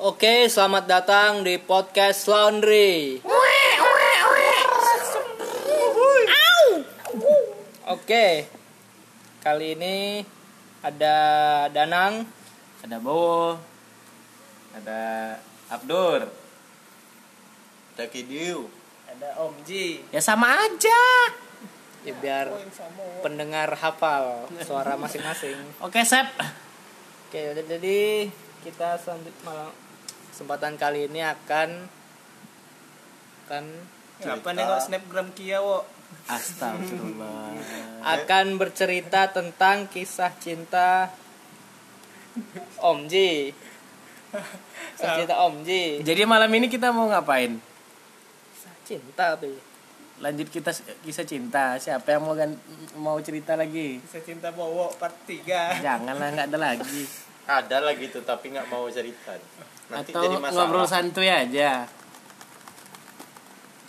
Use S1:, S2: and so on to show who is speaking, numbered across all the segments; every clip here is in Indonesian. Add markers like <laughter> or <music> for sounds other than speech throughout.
S1: Oke, selamat datang di podcast Laundry. Oke, kali ini ada Danang,
S2: ada Bowo ada Abdur ada Kidiu
S3: Ada Om Ji.
S2: ya sama aja
S1: ya, biar pendengar hafal suara masing-masing.
S2: oke Sep
S1: Oke, udah, jadi kita selanjut malam kesempatan kali ini akan akan
S3: Kenapa
S4: Ah.
S3: nengok snapgram Kia, wo?
S2: astagfirullah
S1: akan bercerita tentang kisah cinta Om Ji. Kisah cinta Om Ji.
S2: jadi malam ini kita mau ngapain
S1: Kisah cinta tuh.
S2: lanjut kita s- kisah cinta siapa yang mau gan- mau cerita lagi
S3: Kisah cinta Bowo part 3.
S2: janganlah nggak ada lagi
S4: ada lagi tuh tapi nggak mau cerita nanti
S2: atau
S4: jadi masalah
S2: ngobrol santuy aja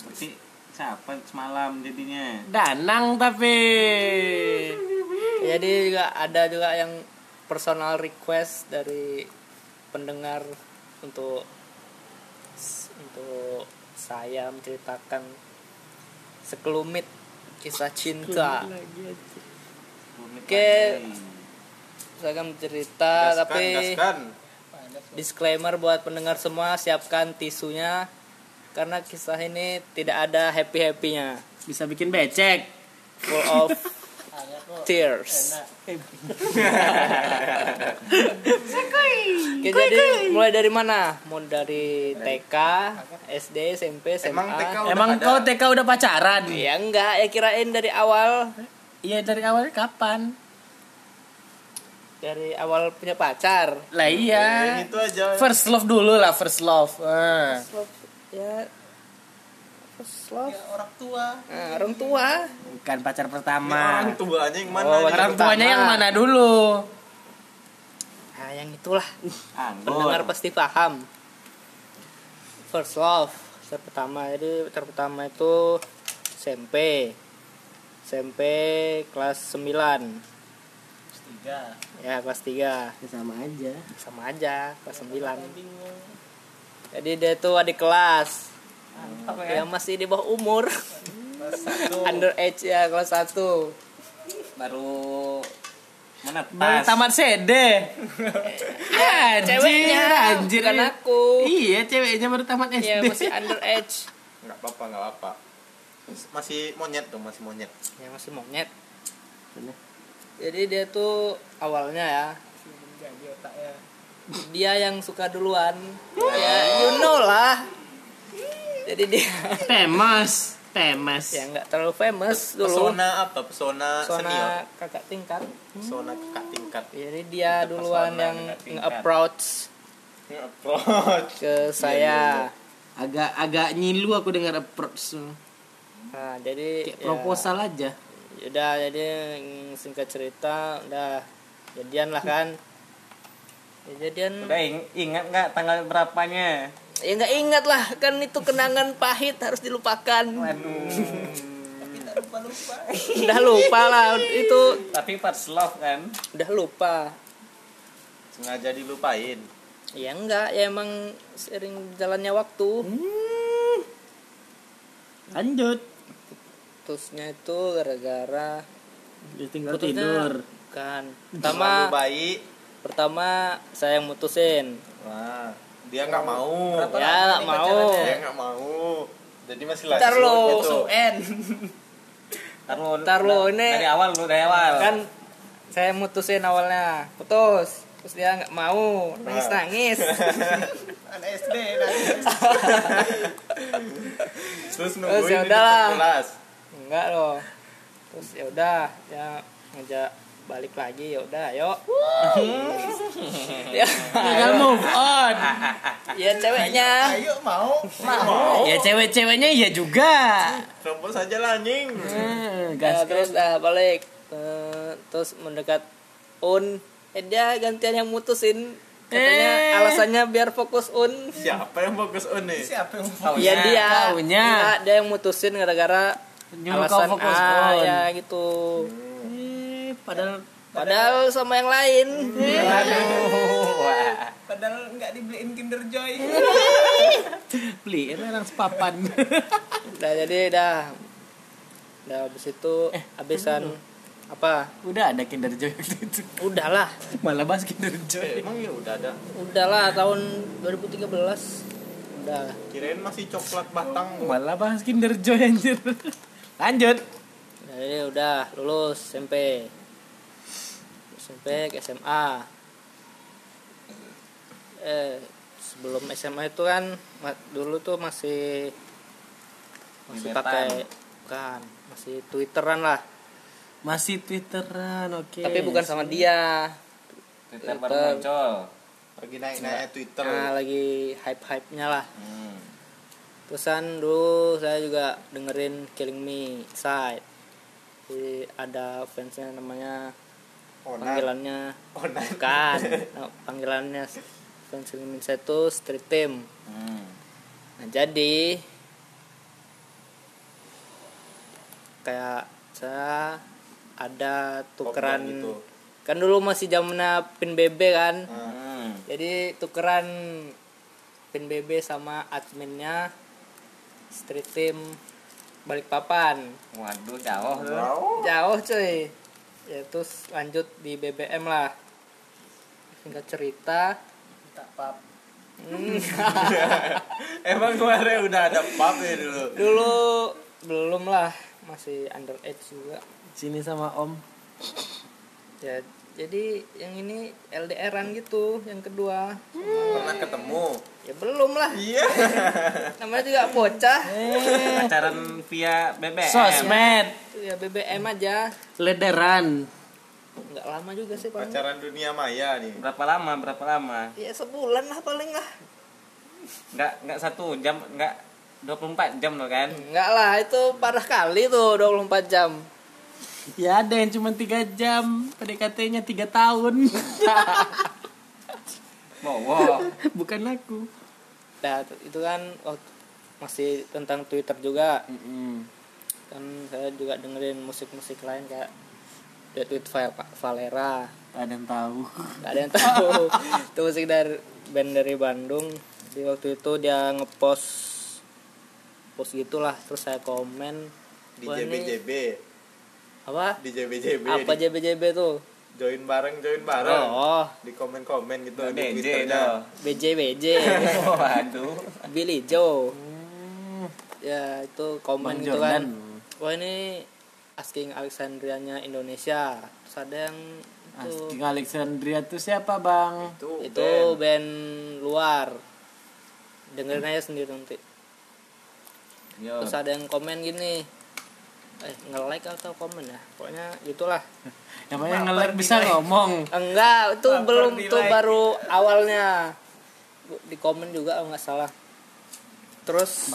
S5: Berarti siapa semalam jadinya?
S2: danang tapi
S1: Jadi juga ada juga yang personal request dari pendengar untuk untuk saya menceritakan sekelumit kisah cinta. Oke, saya akan bercerita
S4: Gaskan,
S1: tapi
S4: gaskan.
S1: disclaimer buat pendengar semua siapkan tisunya karena kisah ini tidak ada happy happynya
S2: bisa bikin becek
S1: full of tears. Oke, jadi mulai dari mana? Mau dari TK, SD, SMP, SMA.
S4: Emang TK udah Iya.
S2: emang
S4: ada?
S2: kau TK udah pacaran
S1: Ya enggak, ya kirain dari awal
S2: Iya dari awal kapan?
S1: dari awal punya pacar.
S2: Lah iya.
S4: Eh, itu aja
S2: First love dulu lah first love. Eh.
S1: Ya first love.
S3: Ya, orang tua.
S1: Nah, orang tua.
S2: Bukan pacar pertama.
S4: Iya, orang tuanya yang mana
S1: Oh,
S4: nih?
S2: Orang tuanya
S1: pertama.
S2: yang mana dulu?
S1: Nah, yang itulah pendengar
S5: Anggur.
S1: pasti paham. First love pacar pertama. Jadi pacar pertama itu SMP. SMP kelas 9.
S3: 3.
S1: Ya, kelas 3.
S2: sama aja.
S1: sama aja kelas 9 jadi dia tuh adik kelas yang masih di bawah umur <laughs> underage ya kelas 1
S5: Baru menetas.
S2: Baru tamat CD. anjir, anjir.
S1: bukan aku
S2: Iya, ceweknya baru tamat SD.
S1: ya
S2: <laughs>
S1: masih underage
S4: nggak apa-apa nggak apa masih monyet tuh masih monyet
S1: ya masih monyet jadi dia tuh awalnya ya
S3: Jadi otaknya.
S1: dia yang suka duluan ya you know lah jadi dia <laughs>
S2: Temas, temas.
S1: ya nggak terlalu famous dulu
S4: pesona apa pesona, senior
S1: Soalnya kakak tingkat
S4: pesona kakak tingkat
S1: jadi dia
S4: Itu
S1: duluan
S4: pesona
S1: yang
S4: kakak tingkat.
S1: nge-approach
S4: approach
S1: ke
S4: Iya,
S1: saya.
S2: Agak agak nyilu aku dengar approach.
S1: Nah, jadi ya,
S2: Kayak proposal aja.
S1: Udah jadi mm, singkat cerita udah jadian lah kan. Ya, jadian
S5: Udah ing- ingat nggak tanggal berapanya?
S1: ya nggak ingat lah kan itu kenangan pahit harus dilupakan.
S5: Waduh.
S1: Udah lupa lah itu
S5: Tapi first love kan.
S1: udah lupa.
S4: sengaja dilupain
S1: Ya enggak ya emang sering jalannya waktu.
S2: Lanjut.
S1: Putusnya itu gara-gara
S2: Ditinggal
S1: Putusnya-
S2: tidur.
S1: bukan.
S4: terlalu
S1: Pertama
S4: baik
S1: pertama saya yang mutusin.
S4: nah dia nggak mau
S1: ya nggak mau.
S4: dia nggak mau jadi masih gitu. lagi
S1: Ntar lo,
S4: monyet tuh.
S1: so end.
S5: Ntar lu-
S1: Ntar lu,
S5: dari-
S1: ini-
S5: dari awal lu dari awal.
S4: <laughs>
S1: kan saya mutusin awalnya putus terus dia nggak mau nangis nangis
S3: Anak SD
S1: <laughs>
S3: nangis.
S4: terus nungguin
S1: ya
S4: di
S1: udahlah.
S4: depan kelas
S1: enggak loh terus ya udah ya ngajak balik lagi ya udah yuk ya,
S2: Gagal move on.
S1: ya ceweknya
S3: Ayo mau.
S2: Ya cewek-ceweknya iya juga.
S4: Terobos aja lah anjing.
S2: Eh,
S1: ya,
S2: gas
S1: terus dah balik Eh, terus mendekat un eh, dia gantian yang mutusin katanya
S2: Eh.
S1: alasannya biar fokus un
S4: Siapa yang fokus on nih?
S3: Siapa yang mau?
S5: Taunya.
S1: ya dia
S2: taunya.
S1: Enggak, dia yang mutusin gara-gara
S2: nyuruh kau
S1: alasan
S2: fokus
S1: ah,
S2: on.
S1: ya gitu
S2: Eh, padahal
S1: Padahal sama yang lain.
S6: Aduh, wah.
S2: Padahal nggak dibeliin Kinder Joy.
S7: Beli, ini
S2: <laughs>
S7: orang sepapan.
S1: Udah Nah, jadi dah. Udah habis itu habisan apa?
S7: Udah ada Kinder Joy waktu itu.
S1: Udahlah.
S7: Malah bahas Kinder
S4: Eh,
S7: Joy.
S4: emang ya udah ada
S1: Udahlah tahun 2013. Udah.
S4: kirain masih coklat batang
S7: Malah bahas Kinder Joy anjir. Lanjut.
S1: Jadi Nah, udah lulus SMP. SMP ke SMA. Eh, sebelum SMA itu kan ma- dulu tuh masih masih
S6: Gebetan.
S1: pakai bukan, masih Twitteran lah.
S7: Masih Twitteran, oke.
S1: Tapi bukan sama dia.
S6: Twitter baru
S1: Twitter.
S6: muncul.
S4: lagi naik naik Twitter
S1: Nah, lagi hype-hype-nya lah.
S4: Hmm.
S1: Terusan dulu saya juga dengerin Killing Me Side. Jadi ada fansnya namanya
S4: onan
S1: panggilannya
S4: onan
S1: bukan Nah, panggilannya fans Killing Me Side itu Street Team.
S6: Hmm.
S1: Nah, jadi kayak saya ada tukeran
S4: Lockdown gitu.
S1: kan dulu masih zamannya pin BB kan.
S6: Hmm.
S1: Jadi tukeran pin BB sama adminnya Street Team Balikpapan.
S6: Waduh, jauh tuh.
S4: Wow.
S1: Jauh cuy. Ya terus lanjut di BBM lah. Singkat cerita,
S2: Tak pap.
S4: emang kemarin udah ada pub ya dulu
S1: dulu belum lah masih underage juga.
S7: Sini sama Om.
S1: Ya jadi yang ini LDRan gitu, yang kedua.
S4: pernah ketemu
S1: Ya belum lah.
S4: iya
S1: <laughs> Namanya juga bocah.
S6: Pacaran via BBM.
S7: Sosmed.
S1: Ya BBM aja.
S7: Lederan.
S1: Nggak lama juga sih paling.
S4: pacaran dunia maya nih
S6: Berapa lama? Berapa lama?
S1: Ya sebulan lah paling lah.
S6: Enggak enggak satu jam, enggak 24 jam loh kan.
S1: Enggak lah, itu parah kali tuh 24 jam.
S7: Ya ada yang cuma 3 jam. PDKT-nya 3 tahun. <laughs>
S6: Bowo.
S7: bukan aku.
S1: Nah, t- itu kan waktu masih tentang Twitter juga. Kan saya juga dengerin musik-musik lain kayak The Tweet File Pak Valera.
S7: Ada yang tahu.
S1: Gak ada yang tahu. itu musik dari band dari Bandung. Di waktu itu dia ngepost post gitulah terus saya komen
S4: di
S1: Wah, ini
S4: JBJB
S1: apa
S4: di JBJB
S1: apa
S4: di-
S1: JBJB tuh
S4: join bareng join bareng
S1: oh
S4: di komen komen gitu di
S6: DJ
S4: Twitternya
S6: tuh.
S1: BJBJ
S6: Waduh.
S1: Billy Joe ya itu komen
S7: Hmm. Bang
S1: gitu kan
S7: Jordan.
S1: wah ini asking Alexandrianya Indonesia terus ada yang itu
S7: Asking Alexandria tuh siapa bang?
S4: itu
S1: itu band. luar dengerin aja sendiri nanti
S6: Yo.
S7: Oh.
S1: terus ada yang komen gini eh nge like atau komen ya pokoknya gitulah
S7: Namanya ngelek bisa ngomong.
S1: enggak itu
S2: Baper
S1: belum
S2: di
S1: tuh
S2: like.
S1: baru awalnya Bu- di komen juga kalau nggak salah terus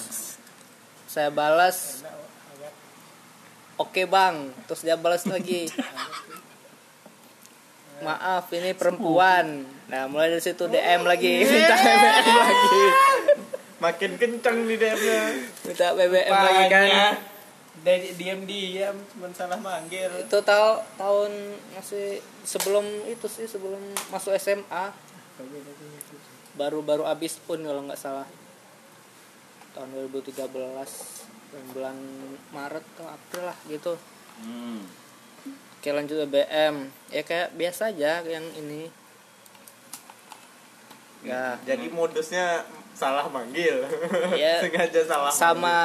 S1: saya balas oke bang terus dia balas lagi maaf ini perempuan nah mulai dari situ dm lagi minta bbm lagi
S4: makin kencang di DM-nya
S1: minta bbm lagi kan
S2: Dari diam diam cuma salah manggil.
S1: itu tau tahun masih sebelum itu sih sebelum masuk SMA baru-baru abis pun kalau nggak salah tahun 2013 bulan- bulan Maret atau April lah gitu
S6: Hmm.
S1: Oke lanjut BM ya kayak biasa aja yang ini ya
S4: jadi modusnya salah manggil
S1: Iya.
S4: <laughs> sengaja salah
S1: sama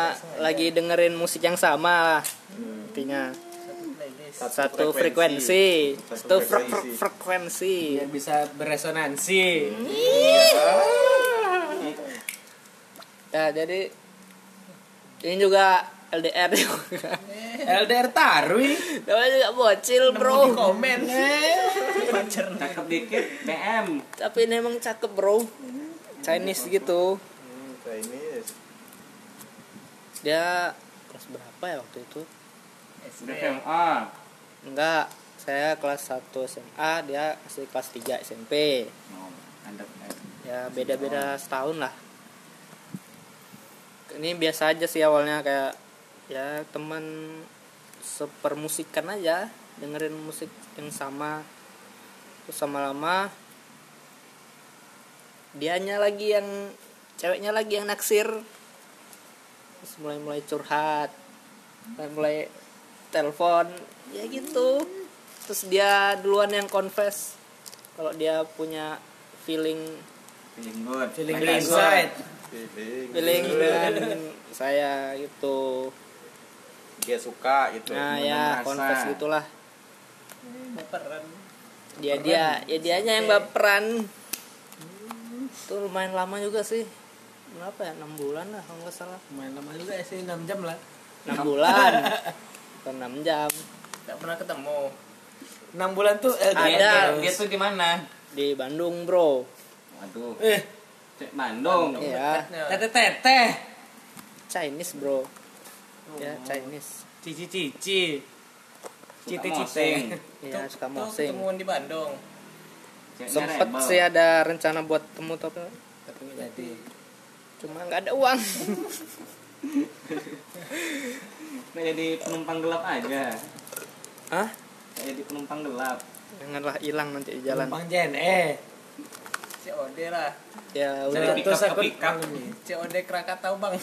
S1: lagi dengerin musik yang sama lah intinya
S4: manggil.
S1: Hmm. satu frekuensi
S4: Satu
S1: satu Iya. frek-
S4: frekuensi.
S1: frek- frekuensi
S7: Biar bisa beresonansi.
S1: Nah, jadi ini juga LDR <laughs> juga.
S7: LDR Tarwi.
S1: Namanya juga bocil, Bro.
S2: Komen. Pacar.
S6: Cakep dikit BM.
S1: Tapi ini emang cakep, Bro. Chinese gitu.
S4: Hmm, Chinese
S1: Dia kelas berapa ya waktu itu?
S6: Udah SMA.
S1: Enggak, saya kelas 1 SMA, dia masih kelas 3 SMP.
S6: Oh, Anda
S1: Ya beda-beda setahun lah. Ini biasa aja sih awalnya kayak ya teman sepermusikan aja. dengerin musik yang sama terus sama lama dianya lagi yang ceweknya lagi yang naksir terus mulai mulai curhat mulai Nah, mulai telepon ya gitu terus dia duluan yang confess kalau dia punya feeling
S6: feeling good
S7: Feeling
S6: Like
S7: good.
S6: that.
S2: Inside.
S4: feeling
S1: feeling
S4: Iya.
S1: dengan saya gitu
S4: dia suka gitu
S1: nah ya
S6: merasa.
S1: confess gitulah
S2: Baperan.
S1: dia dia ya dianya yang baperan itu lumayan lama juga sih berapa ya enam bulan lah kalau nggak salah
S7: Main lama juga sih 6 jam lah.
S1: enam bulan atau enam jam
S2: Gak pernah ketemu.
S7: 6 bulan tuh eh,
S1: Ada.
S6: Dia-
S7: dia-
S6: dia- dia tuh di mana
S1: di Bandung bro
S6: waduh
S7: Eh,
S6: cek Bandung
S1: ya
S7: tete tete.
S1: Chinese bro ya Chinese
S7: Cici cici.
S6: cite
S7: Cite cite.
S6: mosing
S1: ya suka
S2: Tuh
S1: mosing
S2: ketemuan di Bandung.
S6: Ceknya
S1: sempet
S6: rebel.
S1: sih ada rencana buat temu tapi
S2: Tapi nggak jadi.
S1: cuma nggak ada uang
S6: Nggak jadi penumpang gelap aja
S1: ah
S6: Nggak jadi penumpang gelap
S1: janganlah hilang nanti di jalan
S7: Bang Jen eh.
S2: COD lah.
S1: ya
S6: Dari
S1: udah
S6: pick
S7: Terus
S6: up ke
S7: aku
S6: pick up.
S2: COD Krakatau bang.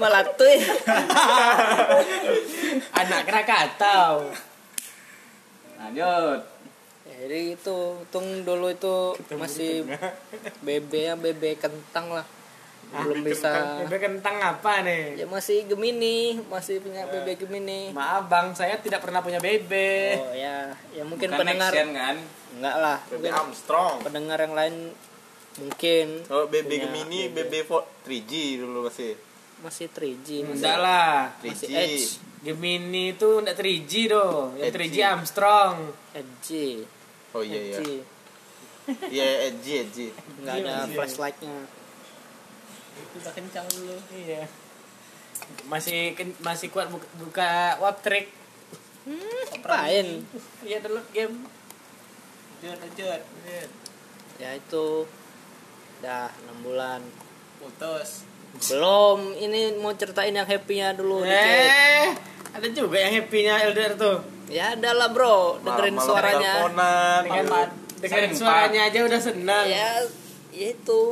S1: malah tuh
S7: <laughs> Anak Krakatau.
S6: Nah, lanjut
S1: Ya, jadi itu untung dulu itu masih
S7: <laughs>
S1: BB ya BB kentang lah belum bisa
S7: Bebe Ah, kentang apa nih?
S1: ya masih Gemini masih punya
S7: Eh.
S1: BB Gemini
S7: Maaf bang, saya tidak pernah punya bebe.
S1: oh ya ya mungkin
S6: Bukan
S1: pendengar
S6: action, kan
S1: enggak lah
S4: BB
S1: mungkin
S4: Armstrong
S1: pendengar yang lain mungkin
S4: oh BB
S1: punya
S4: Gemini BB 3G dulu masih
S1: masih 3G masih,
S7: Enggak lah.
S4: 3G
S1: masih Edge
S7: Gemini tuh enggak 3G doh. Yang 3G
S4: 3G.
S7: Armstrong.
S1: Edge
S4: oh iya iya
S1: Edge
S4: iya Edge Edge
S1: enggak
S7: Iya,
S1: ada flashlightnya
S2: Kita kencang dulu.
S7: Iya. Masih ken- masih kuat buka, buka wap trick.
S1: lain
S7: Iya dulu game.
S2: Jod, jod. jod.
S1: ya itu dah enam bulan
S2: Putus.
S1: belum ini mau ceritain yang happy-nya dulu dikit.
S7: Eh, ada juga yang happy-nya LDR tuh.
S1: Ya adalah bro, dengerin
S4: Malam-malam
S1: suaranya.
S4: teleponan
S7: Dengan,
S4: gitu.
S7: dengerin
S6: Sempat.
S7: suaranya aja udah senang.
S1: Ya, ya itu.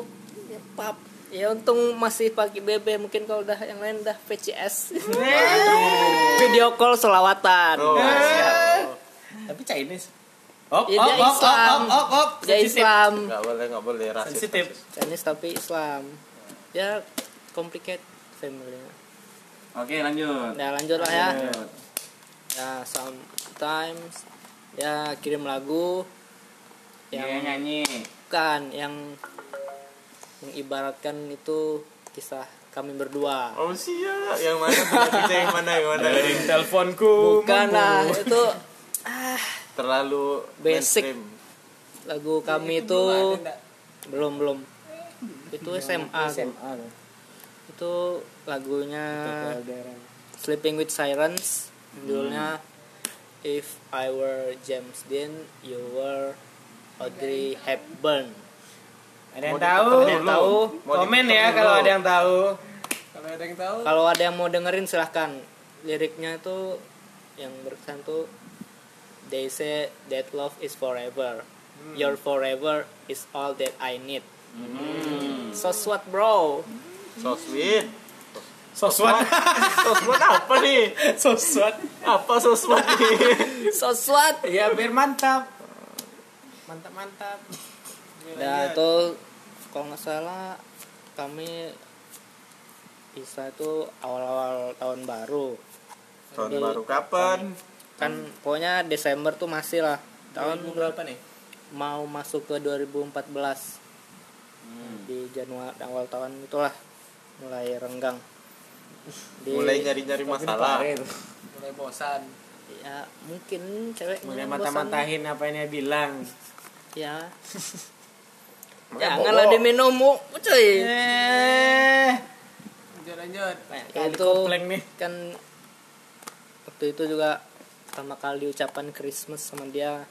S1: Ya pap. Ya untung masih pakai BB mungkin kalau udah yang lain udah
S4: <laughs>
S1: PCS.
S7: Eh,
S1: Video call selawatan.
S4: oh siap
S7: Tapi Chinese.
S4: Oh.
S7: Op,
S1: Ya,
S7: op,
S1: dia
S7: op,
S1: Islam.
S7: op, op, op.
S1: Dia
S7: Sensitif.
S1: Islam.
S4: nggak boleh nggak boleh rasis
S7: Sensitif.
S1: Chinese tapi Islam. Ya complicated family.
S6: oke lanjut
S1: Nah lanjut lah ya.
S4: Iya.
S6: Lanjut.
S1: Ya sometimes ya kirim lagu
S6: Dia
S1: yang
S6: nyanyi
S1: bukan yang mengibaratkan itu kisah kami berdua.
S4: oh siap yang mana punya kita yang mana yang mana
S7: Teleponku.
S1: Bukan lah, itu
S4: terlalu
S1: Basic.
S4: mainstream.
S1: lagu kami itu
S2: Belum ada, Hmm. nggak?
S1: belum belum. Itu SMA. Itu lagunya Sleeping with Sirens, judulnya If I Were James Dean, You Were Audrey Hepburn.
S7: Ada yang
S4: Mau
S7: tahu?
S4: dipotong
S7: Ada yang
S4: dulu.
S7: tahu?
S4: Mau
S7: Komen
S4: dipotong
S7: ya
S4: dulu.
S7: kalau ada yang tahu.
S2: Kalau ada yang tahu.
S1: Kalau ada yang mau dengerin silahkan. Liriknya itu yang berkesan tuh They say that love is forever. Your forever is all that I need. So sweet bro.
S4: so sweet
S2: <laughs>
S7: Soswat,
S4: so sweet apa nih
S7: soswat.
S4: apa so sweet nih
S1: So sweet.
S7: Ya biar mantap. Mantap mantap.
S1: Nah itu kalau nggak salah kami bisa itu awal-awal tahun baru
S4: tahun baru kapan
S1: kan pokoknya Desember tuh masih lah tahun
S2: Tahun berapa nih?
S1: mau masuk ke 2014
S4: Hmm.
S1: di Januari awal tahun itulah mulai
S4: <laughs>
S1: renggang Di-
S4: mulai nyari nyari masalah
S2: Mulai bosan.
S1: ya mungkin cewek
S7: Mulai mata-matahin apa yang dia bilang.
S1: ya
S4: <laughs> Makanya
S1: janganlah
S4: bobo.
S1: diminum Bu, cuy
S7: Eh,
S2: Jod, jod.
S1: itu
S7: kompleng nih.
S1: kan waktu itu juga pertama kali ucapan Christmas sama dia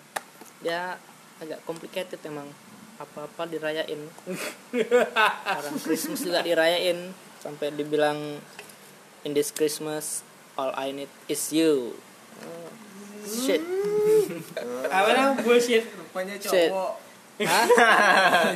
S1: dia agak complicated emang apa-apa dirayain orang Christmas juga dirayain sampai dibilang in this Christmas all I need is you Oh, shit
S2: Apa namanya bullshit rupanya
S1: Shit.
S2: cowok.
S1: Hah?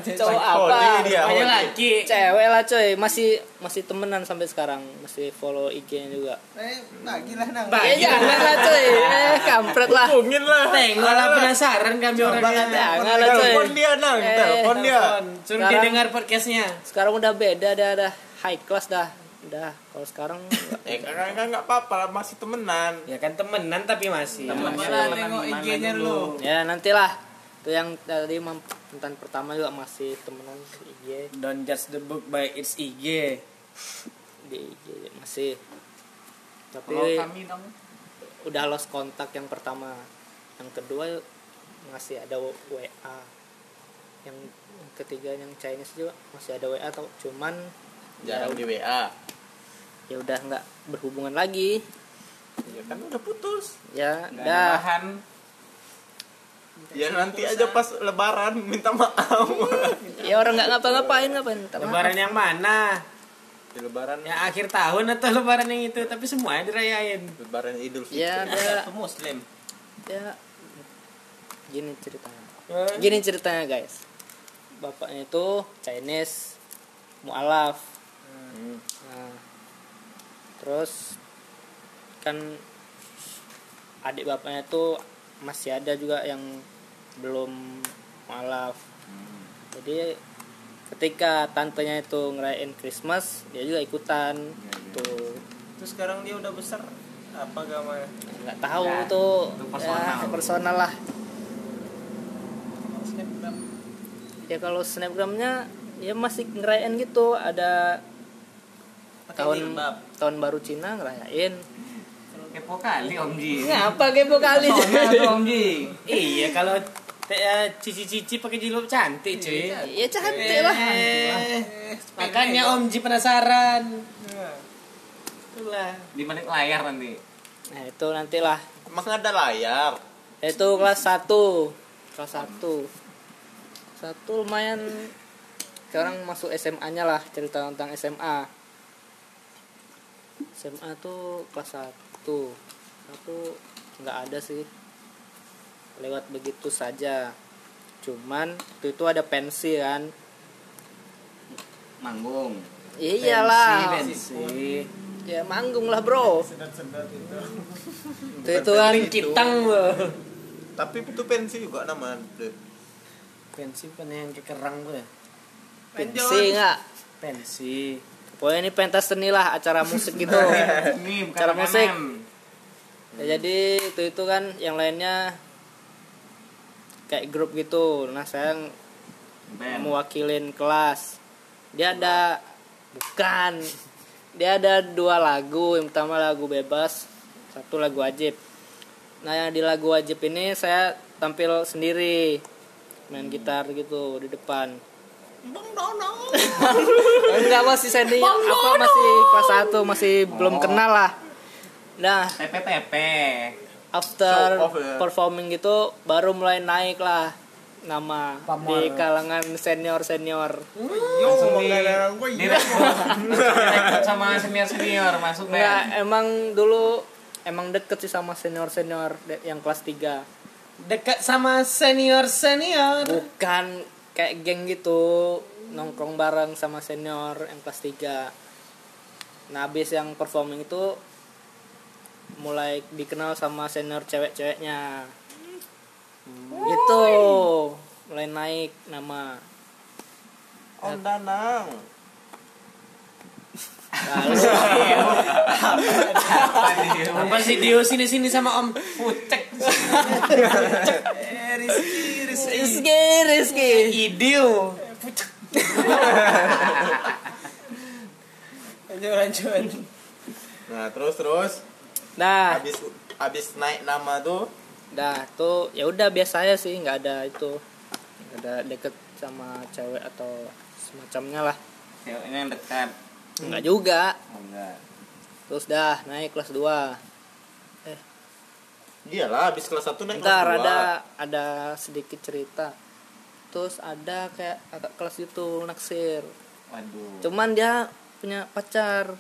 S1: cowok apa
S4: Holy dia,
S1: Banyak
S4: holy.
S1: laki cewek lah coy masih masih temenan sampai sekarang masih follow IG-nya juga
S2: Eh, lagi lah nang.
S1: eh jangan lah coy eh kampret lah
S4: Hubungin lah.
S7: Tengok lah penasaran kami orangnya.
S1: jangan Nah, lah
S4: Nah, Telepon
S1: coy
S4: dia nang,
S1: Eh,
S4: telepon dia.
S7: Suruh dia
S1: Sekarang-
S7: dengar podcastnya.
S1: sekarang udah beda dah dah high class dah udah kalau sekarang <laughs>
S4: Eh kakak kakak nggak apa-apa lah, masih temenan.
S7: Ya kan temenan tapi masih.
S2: Malah nengok IG-nya lu.
S1: ya nantilah tuh yang tadi mem- mantan pertama juga masih temenan di IG
S7: Don't judge the book by its IG.
S1: di IG masih tapi
S6: Kalau kami dong
S1: udah lost kontak yang pertama yang kedua masih ada W- WA yang ketiga yang Chinese juga masih ada WA atau cuman
S4: Jarang di WA.
S1: ya udah nggak berhubungan lagi
S4: Ya kan udah putus.
S1: ya
S6: nggak ada
S7: Ah.
S1: udah
S6: bahan
S4: Ya nanti aja pas lebaran minta maaf.
S1: ya orang nggak ngapa-ngapain ngapain minta maaf.
S7: Lebaran yang mana?
S4: Di lebaran ya.
S7: Yang akhir tahun atau lebaran yang itu? Tapi semuanya dirayain.
S4: lebaran Idul Fitri.
S1: ya ada
S6: Aku muslim
S1: ya gini ceritanya gini ceritanya guys bapaknya itu Chinese mualaf
S4: Hmm.
S1: nah, terus kan adik bapaknya itu masih ada juga yang belum mualaf
S6: Hmm.
S1: jadi ketika tantenya itu ngerayain Christmas dia juga ikutan
S6: Iya,
S1: gitu. tuh
S2: Terus sekarang dia udah besar. Apa gamanya?
S1: nggak tahu
S6: Ya,
S1: tuh
S6: itu
S1: ya,
S6: personal.
S1: personal lah
S2: Snapgram.
S1: ya kalau snapgramnya ya masih ngerayain gitu ada
S2: Pakai
S1: tahun
S2: jilbab.
S1: tahun baru Cina ngerayain
S6: kepo kali Om Ji
S1: ngapa kepo kali
S6: Personal tuh Om Ji
S7: iya kalau te- eh, cici-cici pakai jilbab cantik cuy.
S1: ya cantik lah
S7: Eh,
S2: Eh,
S7: makanya Om Ji penasaran.
S2: Nah,
S7: Itulah.
S6: di balik layar nanti
S1: nah itu nantilah
S4: Emang ada layar.
S1: itu kelas 1 kelas 1 satu lumayan sekarang masuk SMA nya lah cerita tentang SMA SMA tuh kelas 1 satu nggak ada sih lewat begitu saja cuman waktu itu ada pensi kan
S6: manggung
S1: iyalah
S7: Pensi,
S1: ya manggung lah bro
S2: Sedot-sedot
S1: waktu itu
S2: itu.
S1: kan
S7: Kitang loh.
S4: Tapi itu pensi juga nama.
S7: Pensi pengen yang kekerang gue.
S1: pensi nggak
S7: Pensi.
S1: pokoknya ini pentas seni lah acara musik gitu
S6: ini bukan
S1: Cara musik.
S6: makanan.
S1: Ya, jadi itu itu kan yang lainnya kayak grup gitu. Nah saya ng-
S6: band
S1: mewakilin kelas. Dia ada bukan. Dia ada dua lagu. Yang pertama lagu bebas, satu lagu wajib. Nah yang di lagu wajib ini saya tampil sendiri main gitar gitu di depan. <laughs> Oh, Enggak masih senior apa masih kelas 1 masih belum
S4: Oh.
S1: kenal lah. Nah,
S6: TPTP
S1: after
S4: Show off ya.
S1: performing gitu baru mulai naik lah nama di
S7: Pamor.
S1: kalangan senior senior
S6: langsung di
S4: iya.
S6: direkrut Direkrut sama senior senior masuk
S1: nggak
S6: band
S1: emang dulu emang deket sih sama senior senior yang kelas 3
S7: Dekat sama senior senior.
S1: bukan kayak geng gitu nongkrong bareng sama senior yang kelas 3 nah habis yang performing itu mulai dikenal sama senior cewek-ceweknya gitu mulai naik nama
S4: Onda nang.
S1: Lalu
S6: Iya.
S7: Apa sih Dio sini sini sama Om Pucek?
S2: Eh, Rizky, Rizky.
S1: Rizky, Rizky.
S7: Idio.
S2: Lanjut, lanjut.
S4: Nah terus terus
S1: Nah,
S4: habis habis naik nama tuh
S1: dah tuh ya udah biasanya sih nggak ada itu nggak ada deket sama cewek atau semacamnya lah
S6: ceweknya yang dekat
S4: Hmm.
S1: nggak juga
S6: Oh, enggak
S1: terus dah naik kelas 2
S4: iyalah habis kelas 1 naik
S1: ntar
S4: kelas 2.
S1: ada ada sedikit cerita terus ada kayak kakak kelas itu gitu, naksir
S6: waduh
S1: cuman dia punya pacar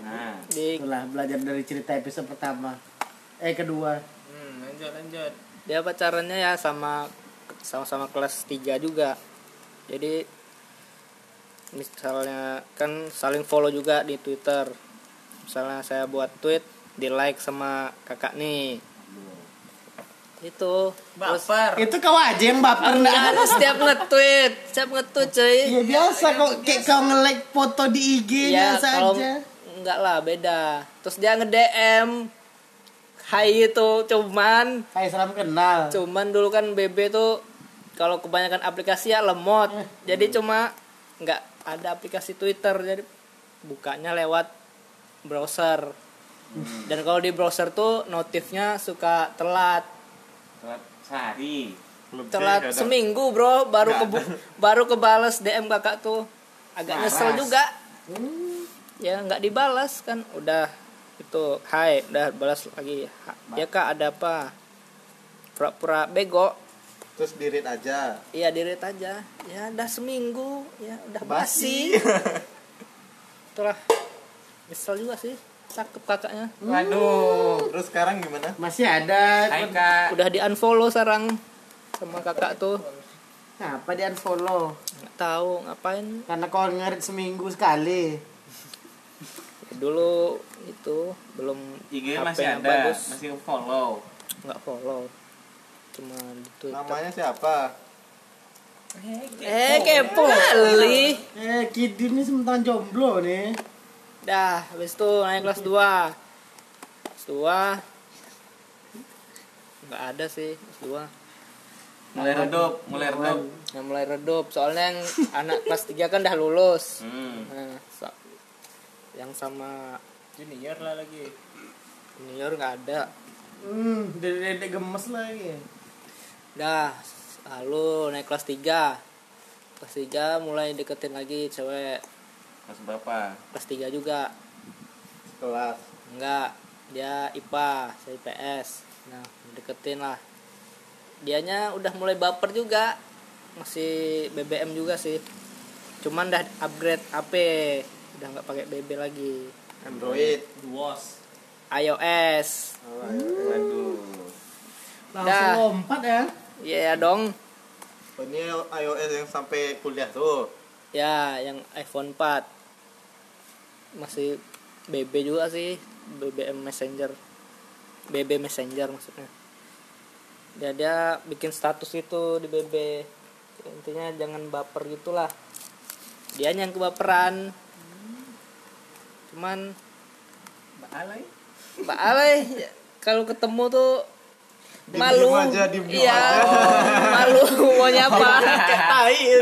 S6: Nah,
S1: di
S7: Itulah belajar dari cerita episode pertama. Eh kedua.
S2: Hmm, lanjut lanjut.
S1: dia pacarannya ya sama sama-sama kelas 3 juga jadi misalnya kan saling follow juga di Twitter misalnya saya buat tweet di like sama kakak nih itu terus
S2: Baper.
S7: Itu kau aja yang baper
S1: enggak
S7: nah.
S1: ada setiap nge-tweet setiap nge-tweet cuy
S2: iya,
S7: Ya biasa kok kayak kau nge-like foto di IG-nya
S1: ya kalau
S7: saja.
S1: enggak lah beda terus dia nge-DM Hai itu cuman
S7: Hai salam kenal.
S1: Cuman dulu kan BB tuh kalau kebanyakan aplikasi ya lemot. Jadi cuma nggak ada aplikasi Twitter jadi bukanya lewat browser. Dan kalau di browser tuh notifnya suka telat.
S6: telat sehari.
S4: Lebih
S1: Telat
S4: kadang.
S1: seminggu, Bro, baru kebu baru kebales DM Kakak tuh. Agak nyesel
S6: Malas.
S1: juga. Ya nggak dibalas kan udah itu hai udah balas lagi Ha- ya kak ada apa pura-pura bego
S4: Terus dirit aja.
S1: Iya dirit aja. Ya udah seminggu, ya udah basi.
S7: <laughs>
S1: Itulah. Nyesel juga sih. Cakep kakaknya.
S6: Waduh.
S4: Terus sekarang gimana?
S7: Masih ada.
S6: Hai kak.
S1: Udah di unfollow sekarang sama kakak tuh.
S7: Kenapa di unfollow?
S1: Nggak tahu ngapain.
S7: Karena kau ngerit seminggu sekali.
S1: Ya, dulu itu belum
S6: IG
S1: HP
S6: masih
S1: yang
S6: ada,
S1: bagus.
S6: masih follow.
S1: nggak follow. Cuma di Twitter.
S4: Namanya siapa?
S1: Eh kepo kali.
S7: Eh, Kidin ini sementara jomblo nih.
S1: Dah, habis itu naik kelas 2 Kelas 2 Nggak ada sih, kelas 2
S6: Mulai redup, mulai redup.
S1: yang mulai redup soalnya yang anak kelas 3 kan dah lulus
S6: Hmm.
S1: nah, sa- yang sama
S2: Junior lah lagi.
S1: junior nggak ada
S7: Hmm, dedek gemes lagi.
S1: dah lalu naik kelas 3 kelas 3 mulai deketin lagi cewek
S6: Kelas berapa?
S1: kelas 3 juga
S4: Kelas.
S1: enggak dia IPA saya IPS nah deketin lah dianya udah mulai baper juga masih BBM juga sih cuman dah upgrade HP udah nggak pakai BB lagi
S4: Android.
S2: Duos.
S1: iOS
S4: Oh, ayo.
S6: Waduh.
S7: Langsung
S1: Dah.
S7: lompat ya.
S1: Iya dong.
S4: Oh, Ini iOS yang sampai kuliah tuh.
S1: Ya, yang iPhone 4. Masih BB juga sih, BBM Messenger. BB Messenger maksudnya. Ya dia bikin status itu di BB. Intinya jangan baper gitulah. Dia yang kebaperan. Cuman
S2: Alay.
S1: Mbak Ale ya, kalau ketemu tuh
S4: Diem
S1: malu
S4: aja, diem
S1: iya <laughs> malu mau nyapa tai
S6: ya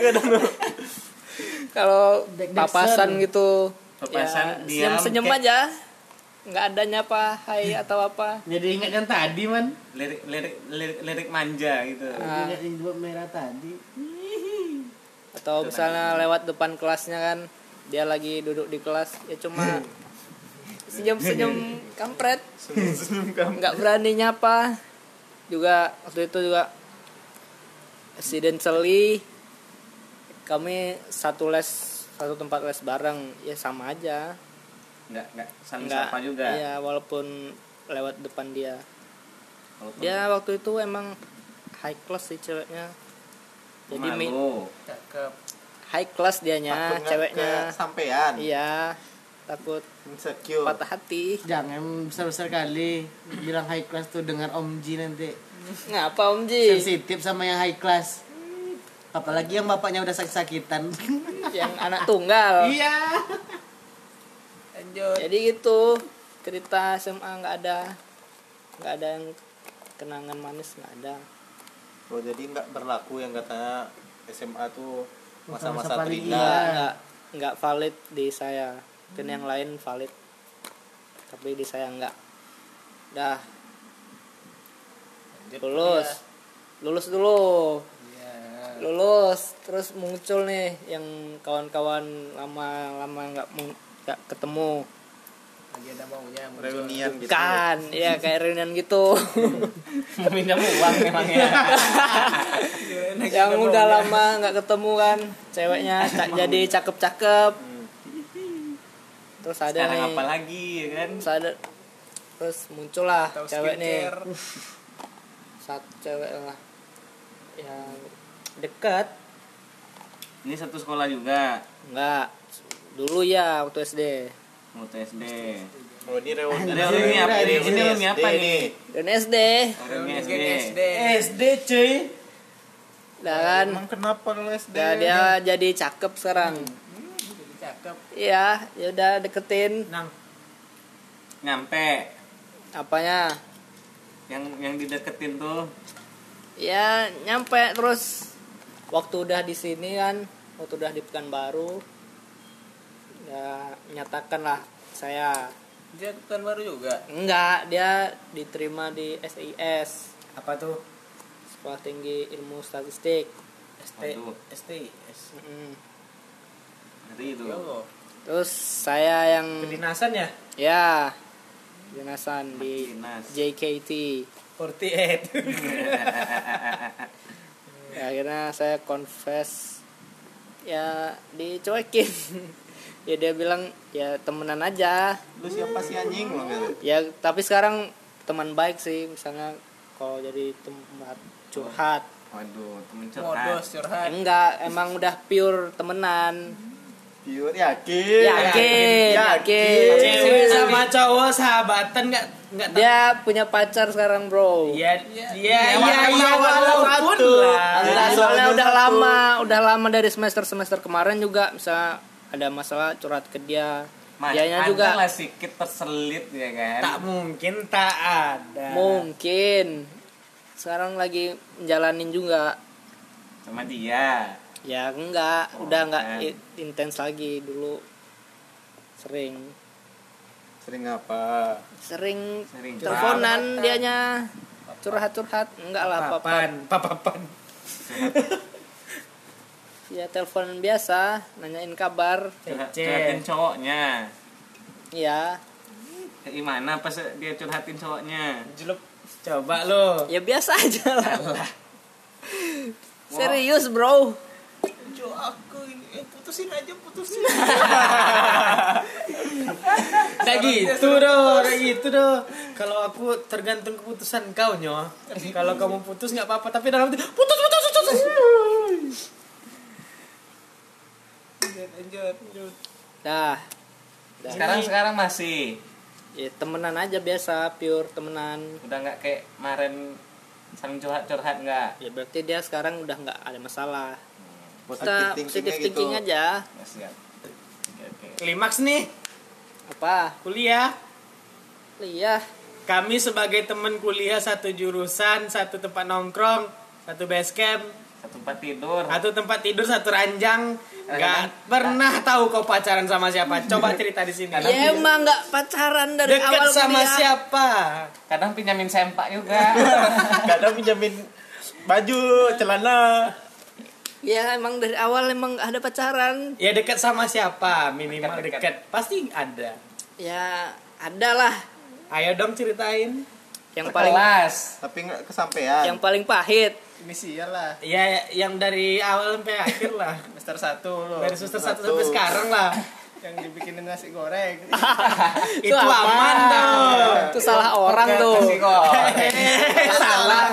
S1: kalau
S7: Back-back
S1: papasan
S7: sound.
S1: gitu ya,
S6: Papasan, diam,
S1: senyum senyum
S6: kayak-
S1: aja nggak ada nyapa hai atau apa
S7: Jadi ingat yang tadi man.
S6: Lirik, lirik, lirik, lirik manja gitu.
S1: Ah.
S7: Ingat yang dua merah tadi.
S1: atau misalnya lewat depan kelasnya kan dia lagi duduk di kelas ya cuma
S7: <laughs>
S1: senyum senyum kampret
S4: Senyum-senyum kamu.
S1: nggak berani nyapa juga waktu itu juga accidentally kami satu les satu tempat les bareng ya sama aja
S6: Enggak, enggak saling
S1: nggak
S6: sapa juga.
S1: iya walaupun lewat depan dia
S6: Walaupun
S1: dia Ya, waktu itu emang high class sih ceweknya jadi mi-
S6: malu.
S2: Cakep.
S1: high class dianya
S4: Takut nggak
S1: Ya, ceweknya
S4: kesampean.
S1: iya takut
S4: Insecure.
S1: patah hati
S7: Jangan besar-besar kali bilang high class tuh dengar Om Ji nanti.
S1: ngapa om Ji
S7: Sensitif sama yang high class. Apalagi yang bapaknya udah sakit-sakitan.
S1: yang anak tunggal
S7: Iya.
S2: Lanjut.
S1: jadi gitu cerita SMA nggak ada nggak ada yang kenangan manis nggak ada
S4: Oh, jadi nggak berlaku yang katanya SMA tuh
S7: Masa-masa
S4: masa-masa
S7: paling
S1: nggak
S4: terindah.
S7: iya.
S1: nggak nggak valid di saya dan yang lain valid tapi di saya nggak dah
S2: Lanjut
S1: lulus lulus dulu
S2: Iya.
S1: lulus terus muncul nih yang kawan-kawan lama-lama nggak mu- nggak ketemu
S2: Lagi ada maunya. muncul.
S4: Reunian gitu.
S1: kan ya kayak reunian
S6: <laughs>
S1: gitu
S6: Mau pinjam uang ya. memangnya.
S1: <laughs> yang udah
S6: ya.
S1: lama
S6: <laughs>
S1: nggak ketemu kan ceweknya ca- jadi cakep-cakep terus ada
S6: sekarang
S1: nih
S6: apa lagi ya kan
S1: terus ada terus muncullah
S2: Tahu
S1: cewek nih
S2: skincare.
S1: satu cewek lah Ya, yang dekat
S6: ini satu sekolah juga
S1: enggak dulu ya waktu SD
S6: mau SD
S4: Oh ini reuni.
S6: Reuni apa? Ini- ini reuni apa
S4: SD
S6: nih?
S1: dan SD
S6: orangnya SD
S2: Geng SD.
S7: SD cuy
S1: dan
S4: Emang kenapa lu SD?
S1: dan dia jadi cakep sekarang
S2: Jadi Cakep.
S1: iya ya udah deketin
S2: Nang.
S6: nyampe
S1: apanya
S6: yang yang dideketin tuh
S1: ya nyampe terus waktu udah di sini kan waktu udah di Pekanbaru ya nyatakanlah saya
S2: Dia bukan baru juga.
S1: enggak dia diterima di SIS
S7: apa tuh
S1: Sekolah Tinggi Ilmu Statistik
S2: ST.
S6: Waduh.
S2: ST. S-
S1: Mm.
S6: berarti itu
S4: Ya
S2: Yo.
S1: terus saya yang
S2: Kedinasan ya?
S1: ya dinasan di
S6: dinas
S1: JKT
S2: 48.
S1: Ya, akhirnya saya confess ya dicuekin <laughs> ya dia bilang ya temenan aja
S4: Lu siapa sih anjing lu gitu?
S1: ya tapi sekarang teman baik sih misalnya kalau jadi tempat curhat
S6: waduh temen
S2: <laughs>
S6: curhat
S2: Modus curhat.
S1: enggak emang udah pure temenan
S4: Pure yakin.
S1: yakin
S4: Yakin.
S1: yakin
S2: Cewek sama cowok sahabatan nggak nggak
S1: dia punya pacar sekarang bro
S7: ya
S2: Iya,
S7: ya
S2: iya, iya, walaupun lah.
S1: Enggak, soalnya
S4: Jadi selalu
S1: udah
S4: satu.
S1: lama udah lama dari semester semester kemarin juga misalnya ada masalah curhat ke dia
S6: Mas,
S1: dianya
S6: Anda
S1: juga
S6: lah sedikit terselit ya kan
S7: tak mungkin tak ada
S1: mungkin sekarang lagi menjalanin juga
S6: sama dia
S1: ya enggak
S6: Oh,
S1: udah enggak
S6: kan.
S1: i- intens lagi dulu sering
S4: Sering apa?
S1: sering
S6: sering
S1: teleponan dianya curhat curhat enggak lah apa
S7: papan papan
S1: ya telepon biasa nanyain kabar
S6: curhat,
S7: Cecet.
S6: curhatin cowoknya
S1: ya
S6: gimana pas dia curhatin cowoknya
S2: Jelup. Coba lo.
S1: ya biasa aja lah serius bro
S2: Jo aku ini putusin aja putusin. Kayak gitu doh, kayak gitu doh. Kalau aku tergantung keputusan kau nyo. Kalau kamu putus nggak apa-apa, tapi dalam hati putus putus putus.
S1: dah
S6: sekarang sekarang masih
S1: ya temenan aja biasa pure temenan
S6: udah nggak kayak kemarin saling curhat curhat nggak
S1: ya berarti dia sekarang udah nggak ada masalah
S4: Positive
S1: kita positif
S4: thinkingnya gitu.
S1: thinking aja
S6: nggak siap kan? oke oke
S2: Klimaks nih,
S1: apa
S2: kuliah.
S1: iya
S2: Kami sebagai teman kuliah satu jurusan, satu tempat nongkrong, satu base camp,
S6: satu tempat tidur
S2: satu tempat tidur, satu ranjang. Gak pernah tahu kau pacaran sama siapa.
S6: <laughs>
S2: Coba cerita di sini.
S1: ya
S6: iya.
S1: emang nggak pacaran dari
S2: Dekat
S1: awal
S2: sama
S1: kuliah.
S2: siapa?
S6: kadang pinjamin sempak juga
S4: Kadang pinjamin baju, celana.
S1: ya emang dari awal emang nggak ada pacaran
S2: Ya dekat sama siapa? Minimal
S6: Dekat, dekat.
S2: dekat. Pasti ada.
S1: ya ada lah
S2: Ayo dong ceritain.
S1: yang paling
S6: kelas
S4: Tapi nggak kesampaian.
S1: yang paling pahit
S4: Inisial lah.
S2: Ya yang dari awal sampai akhir lah.
S4: <laughs> Semester satu lo.
S2: Dari suster satu sampai sekarang lah.
S4: yang dibikinin nasi goreng.
S2: Itu aman tuh.
S1: itu salah orang tuh
S6: Kasih kok
S2: Eh, salah.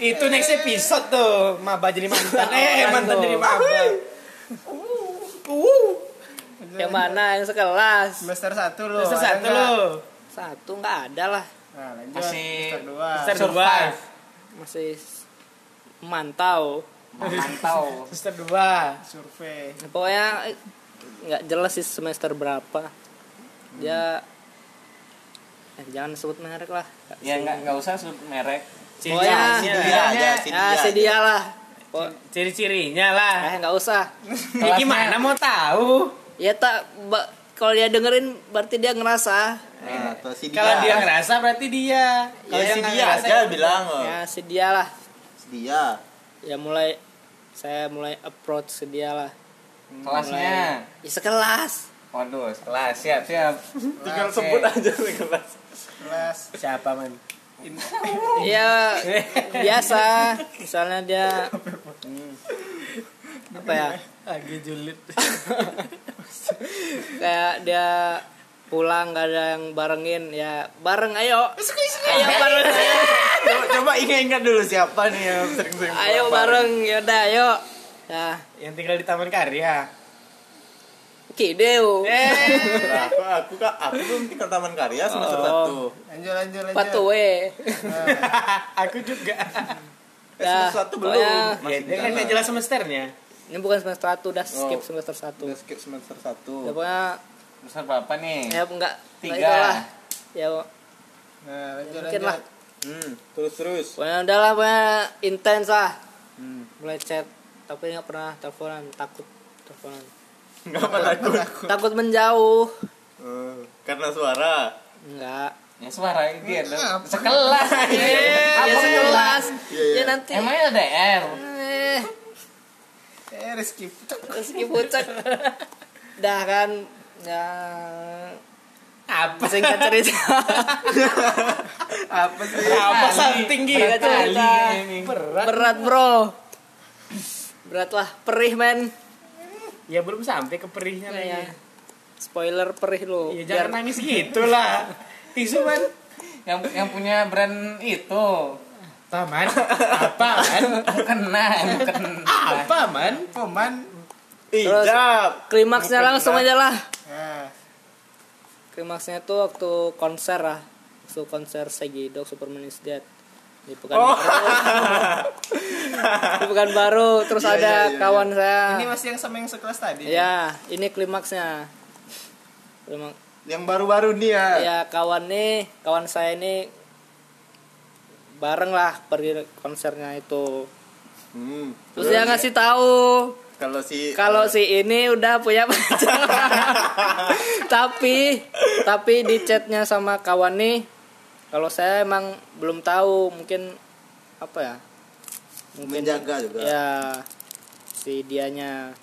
S2: Itu next episode tuh. Maba jadi mantan.
S4: <laughs>
S2: Eh, mantan jadi maba.
S1: yang mana yang sekelas
S4: Semester satu lo.
S2: Suster
S4: ada
S2: satu
S4: nggak?
S2: lo.
S1: satu nggak ada lah
S4: Nah, lanjut.
S6: Masih-
S4: Semester dua.
S2: Suster dua.
S6: survive
S1: masih s- mantau
S2: <laughs>
S6: mantau
S2: Suster dua.
S4: Survei.
S1: pokoknya eh, nggak jelas sih semester berapa dia eh, jangan sebut merek lah
S6: ya nggak nggak usah sebut merek
S1: Pokoknya-
S2: Ciri-cirinya.
S4: Dia aja si
S2: Ah,
S1: ya si dia
S4: dia.
S1: lah Pok-
S2: Ciri-cirinya lah.
S1: eh nggak usah
S2: Ya gimana mau tahu?
S1: ya tak ba- kalau dia dengerin berarti dia ngerasa
S4: Nah, atau si dia.
S2: Kalau dia ngerasa berarti dia. Kalau
S4: ya si
S2: nggak
S4: dia
S2: ngerasa, Iya.
S4: aja bilang. lo.
S1: ya si dia lah
S4: Si dia.
S1: ya mulai saya mulai approach ke dia lah
S6: kelasnya
S1: ya sekelas
S6: waduh kelas siap siap
S4: Tinggal
S6: Oke.
S4: sebut aja nih kelas. Kelas.
S7: siapa man
S1: ya
S4: <laughs>
S1: biasa misalnya dia apa ya
S2: Lagi julid.
S1: kayak dia pulang gak ada yang barengin ya bareng ayo ayo bareng
S4: <laughs> Coba, coba ingat-ingat dulu siapa nih yang sering-sering
S1: ayo
S4: pulang
S1: bareng yaudah ayo ya
S2: <laughs> Yang tinggal di Taman Karya. <laughs>
S1: kideu
S4: Eh. bareng. Aku, aku kak, aku belum tinggal Taman Karya semester
S1: Oh.
S4: satu.
S7: Lanjut lanjut lanjut.
S1: patowe
S2: Aku juga.
S4: Eh, semester satu belum.
S1: pokoknya-
S2: ya, dia
S4: iya.
S2: kan nggak jelas semesternya.
S1: ini bukan semester satu udah skip
S4: Oh.
S1: semester satu
S4: Udah skip semester
S1: ya
S2: Iya,
S4: satu.
S1: pokoknya
S6: besar berapa nih
S1: ya enggak
S6: Tiga.
S1: lah ya
S7: Nah, lanjut
S1: mungkin lah
S7: lanjut.
S4: Hmm, terus
S2: <laughs>
S4: terus.
S1: pokoknya udah lah pokoknya intens lah
S4: Hmm.
S1: mulai chat tapi nggak pernah teleponan takut teleponan
S4: Nggak apa takut.
S1: takut menjauh
S4: Eh, karena suara.
S1: enggak
S6: ya suara itu ya lo. sekelas
S1: ya sekelas
S4: Eh, Iya,
S1: ya
S4: iya.
S1: nanti
S6: emangnya LDR
S1: eh
S7: Eh Rizky.
S1: meski
S4: <laughs>
S1: pucat dah kan ya
S2: Apa
S1: singkat cerita
S4: Apa sih?
S2: Apa
S6: Kali.
S2: salting gitu?
S1: Berat kali
S7: Iya
S2: Kali. Berat.
S1: berat bro berat lah perih men
S2: Ya belum sampai ke perihnya lah ya.
S1: Iya. spoiler perih lo
S7: Iya,
S2: Ya jangan nangis gitu lah. Tisu man.
S6: yang yang punya brand itu
S2: Taman. Apa man?
S6: kena bukan
S2: Apa man?
S7: Peman.
S1: Terus-
S4: Ijab.
S1: klimaksnya langsung aja lah
S7: Nah,
S1: klimaksnya tuh waktu konser lah waktu konser Segidok Superman is Dead di Pekan
S4: Oh.
S7: Oh.
S1: Baru di Pekan Baru terus
S4: Iya,
S1: ada
S4: iya, iya,
S1: kawan saya
S7: ini masih yang sama yang sekelas tadi.
S1: ya ini klimaksnya Klimak-
S4: <laughs> Yang baru-baru nih ya.
S2: Iya.
S1: ya kawan nih kawan saya ini bareng lah pergi konsernya itu
S4: Hmm.
S1: terus dia ngasih tahu
S4: Kalau si
S1: kalau si ini udah punya
S2: <laughs>
S1: pacar tapi tapi di chatnya sama kawan nih kalau saya emang belum tahu mungkin apa ya mungkin
S4: menjaga juga.
S1: ya si dianya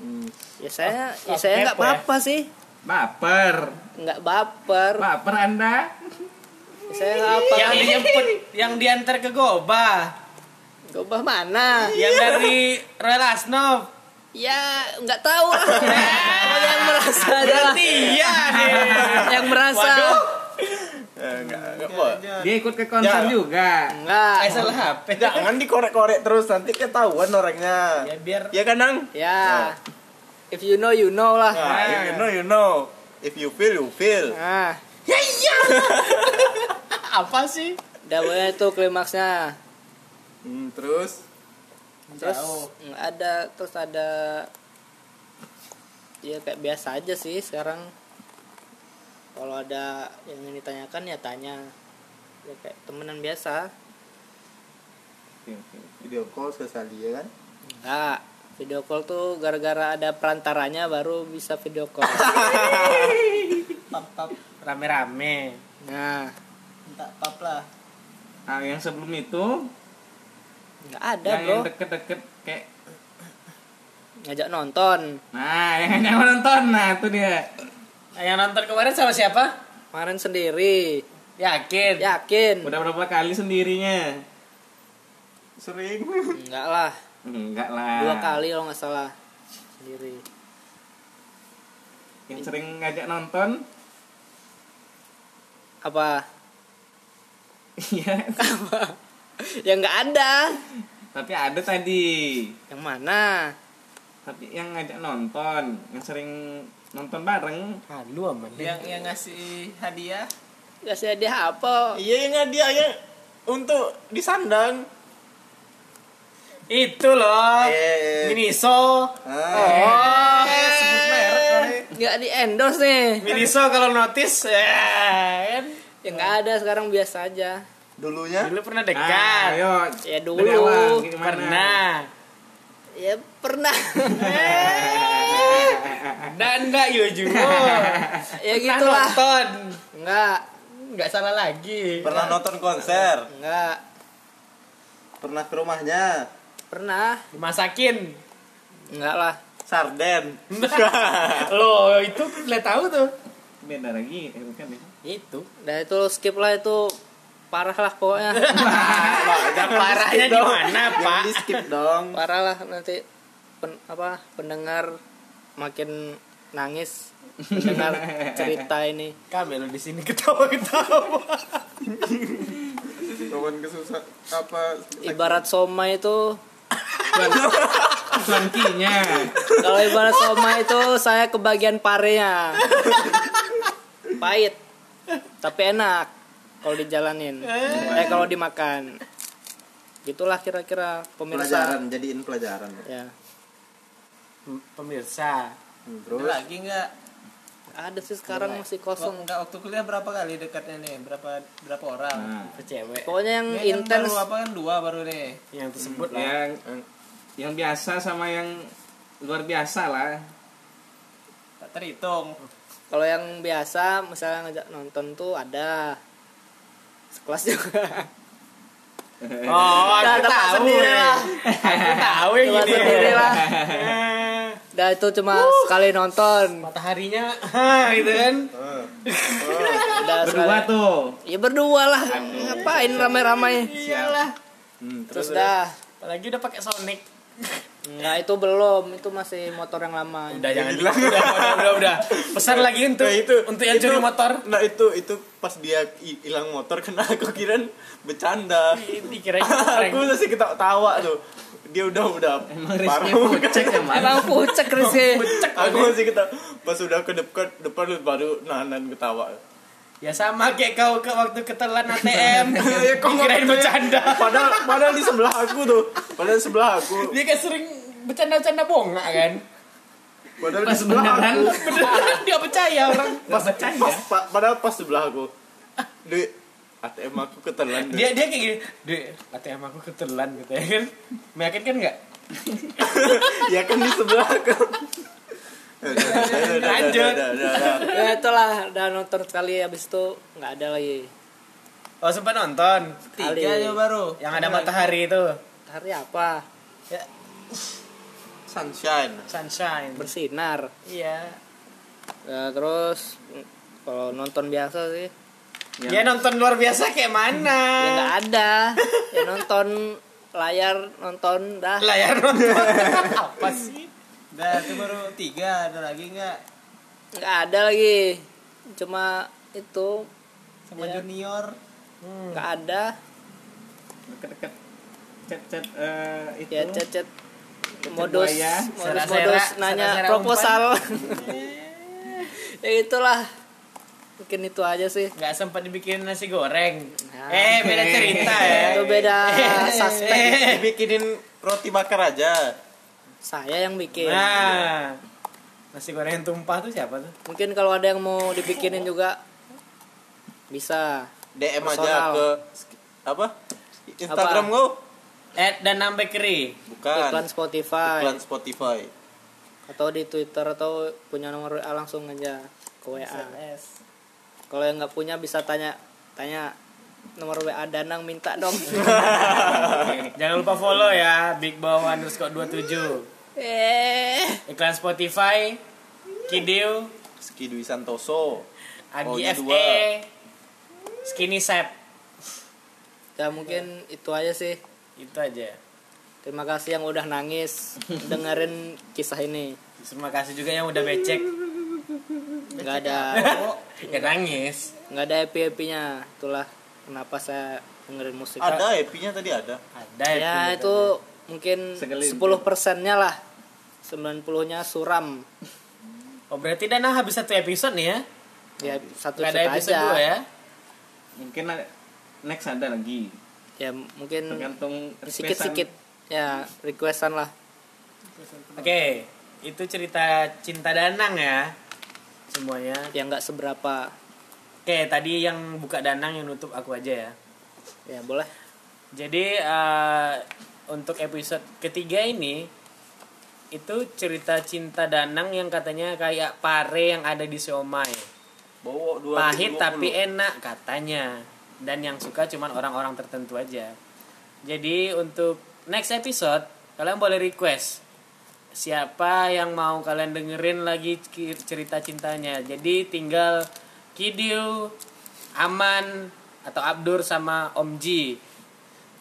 S4: Hmm.
S1: ya saya ya
S2: Up-
S1: saya
S2: up
S1: nggak
S2: kepo ya?
S1: apa-apa sih
S6: baper
S1: nggak baper
S6: baper anda
S1: Ya, saya nggak apa
S2: Yang dijemput, yang diantar ke Goba.
S1: Gobah mana
S2: Yang
S7: Iya.
S2: dari Royal Asnov.
S1: ya nggak
S2: <laughs>
S1: tahu lah Pokoknya yang merasa aja lah
S2: Iya deh.
S1: yang merasa
S2: Waduh.
S4: Eh, nggak nggak boleh.
S6: dia ikut ke konser
S4: Ya.
S6: juga
S1: nggak
S2: Asal HP.
S4: Jangan dikorek-korek terus nanti ketahuan orangnya.
S2: Ya biar
S4: Ya kan, Nang?
S1: ya if you know you know lah
S4: Nah, if you know, you know. If you feel, you feel.
S1: nah <laughs>
S2: apa sih?
S1: Udah pokoknya itu klimaksnya.
S4: Hmm, terus
S1: Terus mm, ada terus ada ya kayak biasa aja sih sekarang. Kalau ada yang ingin ditanyakan ya tanya. Ya kayak temenan biasa.
S4: video call sekali ya kan?
S1: Enggak. Video call tuh gara-gara ada perantaranya baru bisa video <laughs> call.
S7: Pap pap.
S2: Rame-rame.
S1: Nah,
S7: Minta pap lah.
S6: nah yang sebelum itu
S1: nggak ada,
S6: yang,
S1: Bro.
S6: yang deket-deket kayak
S1: Ngajak nonton.
S6: nah yang yang nonton nah itu dia
S2: Nah, yang nonton kemarin sama siapa?
S1: Kemarin sendiri.
S2: Yakin.
S7: Ya,
S1: Yakin?
S6: udah berapa kali sendirinya
S4: Sering.
S1: Enggak lah.
S6: <laughs> enggak lah
S1: Dua kali kalau nggak salah. Sendiri.
S6: yang sering ngajak nonton <laughs>
S1: Apa? <laughs>
S6: iya
S1: ya nggak ada.
S6: tapi ada tadi
S1: Yang mana?
S6: tapi yang ngajak nonton yang sering nonton bareng
S2: Halu aman.
S7: Yang yang ngasih hadiah.
S1: Gak sih dia apa?
S4: Iya yang dia yang untuk disandang.
S2: Itu loh.
S4: Eh.
S2: Miniso.
S6: Eh.
S2: Eh.
S4: Ah.
S1: Eh.
S7: Sebut merek
S6: Ah,
S7: kali.
S1: Gak di endorse nih.
S2: Miniso kalau notice ya kan.
S1: Ya nggak ada sekarang biasa aja.
S4: Dulunya
S2: Dulu pernah
S6: nah
S2: dekat.
S6: ayo
S1: Ya dulu
S6: dari awal gimana?
S2: pernah.
S1: ya
S2: <laughs>
S1: pernah.
S2: Dan enggak yo <laughs> juga.
S1: ya
S2: Pernah
S1: gitulah.
S2: Nonton.
S1: Enggak,
S2: Enggak salah lagi.
S4: pernah nonton konser,
S1: enggak
S4: pernah ke rumahnya.
S1: pernah.
S2: Dimasakin.
S1: Enggak lah.
S4: Sarden.
S2: Loh, itu udah tahu tuh.
S6: beda lagi eh, bukan ya
S2: Itu.
S1: Udah itu skip lah itu parah lah pokoknya.
S2: <laughs> Parahnya di mana, Pak?
S4: Jangan di skip dong.
S1: parah lah nanti pen- apa pendengar makin nangis mendengar cerita ini
S2: Kami lo di sini ketawa-ketawa.
S4: Kawan kesusah apa?
S1: ibarat somai itu
S6: Selangkinya.
S1: kalau ibarat somai itu saya kebagian parenya pahit tapi enak kalau dijalanin eh kalau dimakan gitulah kira-kira pemirsa
S4: Pelajaran jadiin pelajaran.
S1: ya
S2: Pemirsa,
S4: Hmm,
S8: Ada
S4: Terus
S8: lagi nggak
S1: ada sih sekarang masih kosong
S8: nggak waktu kuliah berapa kali dekatnya nih berapa berapa orang
S6: Nah,
S2: cewek
S1: pokoknya yang
S8: Ini kan
S1: intens
S8: baru apa kan dua baru nih
S2: yang tersebut lah.
S6: yang yang biasa sama yang luar biasa lah.
S8: tak terhitung
S1: Kalau yang biasa misalnya ngajak nonton tuh ada sekelas juga.
S2: Oh,
S1: Udah
S2: aku
S1: tempat
S2: tahu.
S1: sendiri lah.
S2: Aku tahu yang
S1: Tempat
S2: gini.
S1: sendiri
S2: <laughs>
S1: lah.
S2: Eh,
S1: Udah itu cuma
S2: Uh.
S1: sekali nonton.
S2: Mataharinya, <laughs> ha, gitu kan?
S1: Udah
S6: Berdua
S1: sekali.
S6: tuh.
S1: Ya berdua lah. Ngapain ramai-ramai?
S2: Iyalah.
S4: Hmm, terus
S1: Terus dah.
S2: Apalagi udah pakai Sonic.
S1: Enggak itu belum, itu masih motor yang lama.
S2: Udah jangan udah, udah, udah, udah. <laughs> Nah, Pesan lagi untuk untuk yang curi motor.
S4: Nah itu itu pas dia i- hilang motor <laughs> karena aku kira bercanda.
S6: Iya,
S2: <laughs> Dikira
S4: <laughs> aku masih ketawa-tawa tuh. Dia udah udah
S6: Emang
S4: parah
S6: Rizky
S4: banget.
S6: pucek emang.
S1: Emang pucek Rizky.
S4: Aku masih ketawa. Pas udah ke depan depan baru nahan ketawa.
S2: Ya sama kayak kau ke waktu ketelan <laughs> ATM.
S4: Ya, kok nggak
S2: Kirain
S4: percaya?
S2: bercanda.
S4: Padahal padahal di sebelah aku tuh. Padahal di sebelah aku.
S2: Dia kan sering bercanda-bercanda bongak kan.
S4: Padahal di
S6: Pas
S4: sebelah
S6: beneran. ya?
S4: aku.
S2: Beneran dia percaya orang.
S4: Pas, pas pa- padahal pas sebelah aku. Di ATM aku ketelan. Dek.
S2: Dia dia kayak gini, "Dek, ATM aku ketelan" gitu ya kan. Meyakinkan enggak?
S4: ya kan di sebelah
S6: <laughs>
S4: aku.
S2: Lanjut.
S1: Ya itulah, udah nonton sekali habis itu nggak ada lagi.
S2: Oh, sempat nonton.
S1: Kali.
S8: tiga aja baru
S2: Yang ada matahari itu.
S1: Hari apa?
S4: Sunshine.
S2: Sunshine.
S1: Bersinar.
S2: Iya.
S1: Ya, terus kalau nonton biasa sih
S2: Ya nonton luar biasa kayak mana?
S1: ya nggak ada ya nonton layar nonton dah
S2: Layar ya, nonton. Apa sih?
S8: dah itu baru tiga ada lagi nggak
S1: nggak ada lagi cuma itu
S8: sama
S1: Iya.
S8: junior
S1: nggak ada
S6: Deket-deket cet-cet eh, itu.
S1: ya cecet modus
S6: buaya.
S1: modus
S2: Sera-sera,
S1: modus
S2: sera-sera
S1: nanya proposal ya itulah mungkin itu aja sih
S2: Nggak sempat dibikin nasi goreng.
S1: Nah.
S2: Eh, beda cerita ya.
S1: itu beda suspek
S4: Dibikinin roti bakar aja.
S1: saya yang bikin
S2: Nah. Nasi goreng yang tumpah tuh siapa tuh?
S1: mungkin kalau ada yang mau dibikinin juga bisa
S4: DM
S1: Personal.
S4: aja ke apa? Instagram
S1: Apa?
S4: kau?
S2: Ed dan Nam Eh, Bakery.
S4: Bukan.
S1: iklan Spotify
S4: Iklan Spotify.
S1: atau di Twitter atau punya nomor WA langsung aja ke WA. Kalau yang nggak punya bisa tanya tanya nomor WA Danang minta dong.
S2: Jangan lupa follow ya Big Bow underscore 27
S1: eh,
S2: Iklan Spotify Kidil
S4: Ski Dwi Santoso.
S2: Agi
S4: Maunya
S2: FE
S4: dua.
S2: Skinny Sap
S1: ya mungkin itu aja sih.
S2: Itu aja
S1: Terima kasih yang udah nangis dengerin kisah ini.
S2: Terima kasih juga yang udah becek
S1: Nggak ada
S2: Gak nangis
S1: nggak ada happy happynya. Itulah kenapa saya dengerin musik.
S4: Ada happy-nya tadi ada.
S2: Ada
S1: Ya itu mungkin
S6: Sekelilingnya.
S1: 10 persennya lah. 90-nya suram.
S2: Oh berarti Dana habis satu episode nih ya
S1: Ya satu
S2: Gak ada
S1: set
S2: episode
S1: aja.
S2: dua ya
S6: Mungkin ada- next ada lagi.
S1: Ya mungkin
S6: Tergantung requestan.
S1: sedikit-sedikit ya requestan lah
S2: Oke Itu cerita cinta Danang ya Semuanya
S1: yang Ya, nggak seberapa
S2: Oke tadi yang buka Danang yang nutup aku aja ya
S1: ya boleh
S2: Jadi eh, untuk episode ketiga ini itu cerita cinta Danang yang katanya kayak pare yang ada di siomay.
S4: Bawa dua
S2: Pahit
S4: <laughs>
S2: tapi enak katanya. Dan yang suka cuman orang-orang tertentu aja. Jadi untuk next episode kalian boleh request siapa yang mau kalian dengerin lagi ki- cerita cintanya. Jadi tinggal Kidio, Aman atau Abdur sama Om Ji.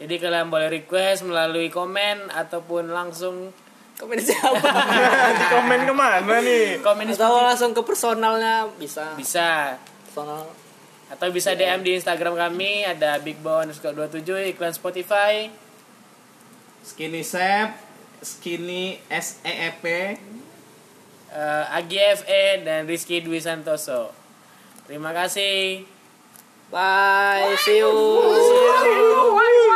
S2: Jadi kalian boleh request melalui komen ataupun langsung
S1: komen siapa
S4: Nanti komen kemana nih?
S2: komen di
S1: <laughs> atau
S2: Spotify.
S1: langsung ke personalnya bisa
S2: bisa
S1: personal
S2: atau bisa DM di Instagram kami ada bigbow_27 iklan Spotify
S4: Skinny Sep, Skinny S E E P.
S2: eh, AGFE dan Rizky Dwi Santoso terima kasih
S1: bye see you
S4: Wahyu, wahyu.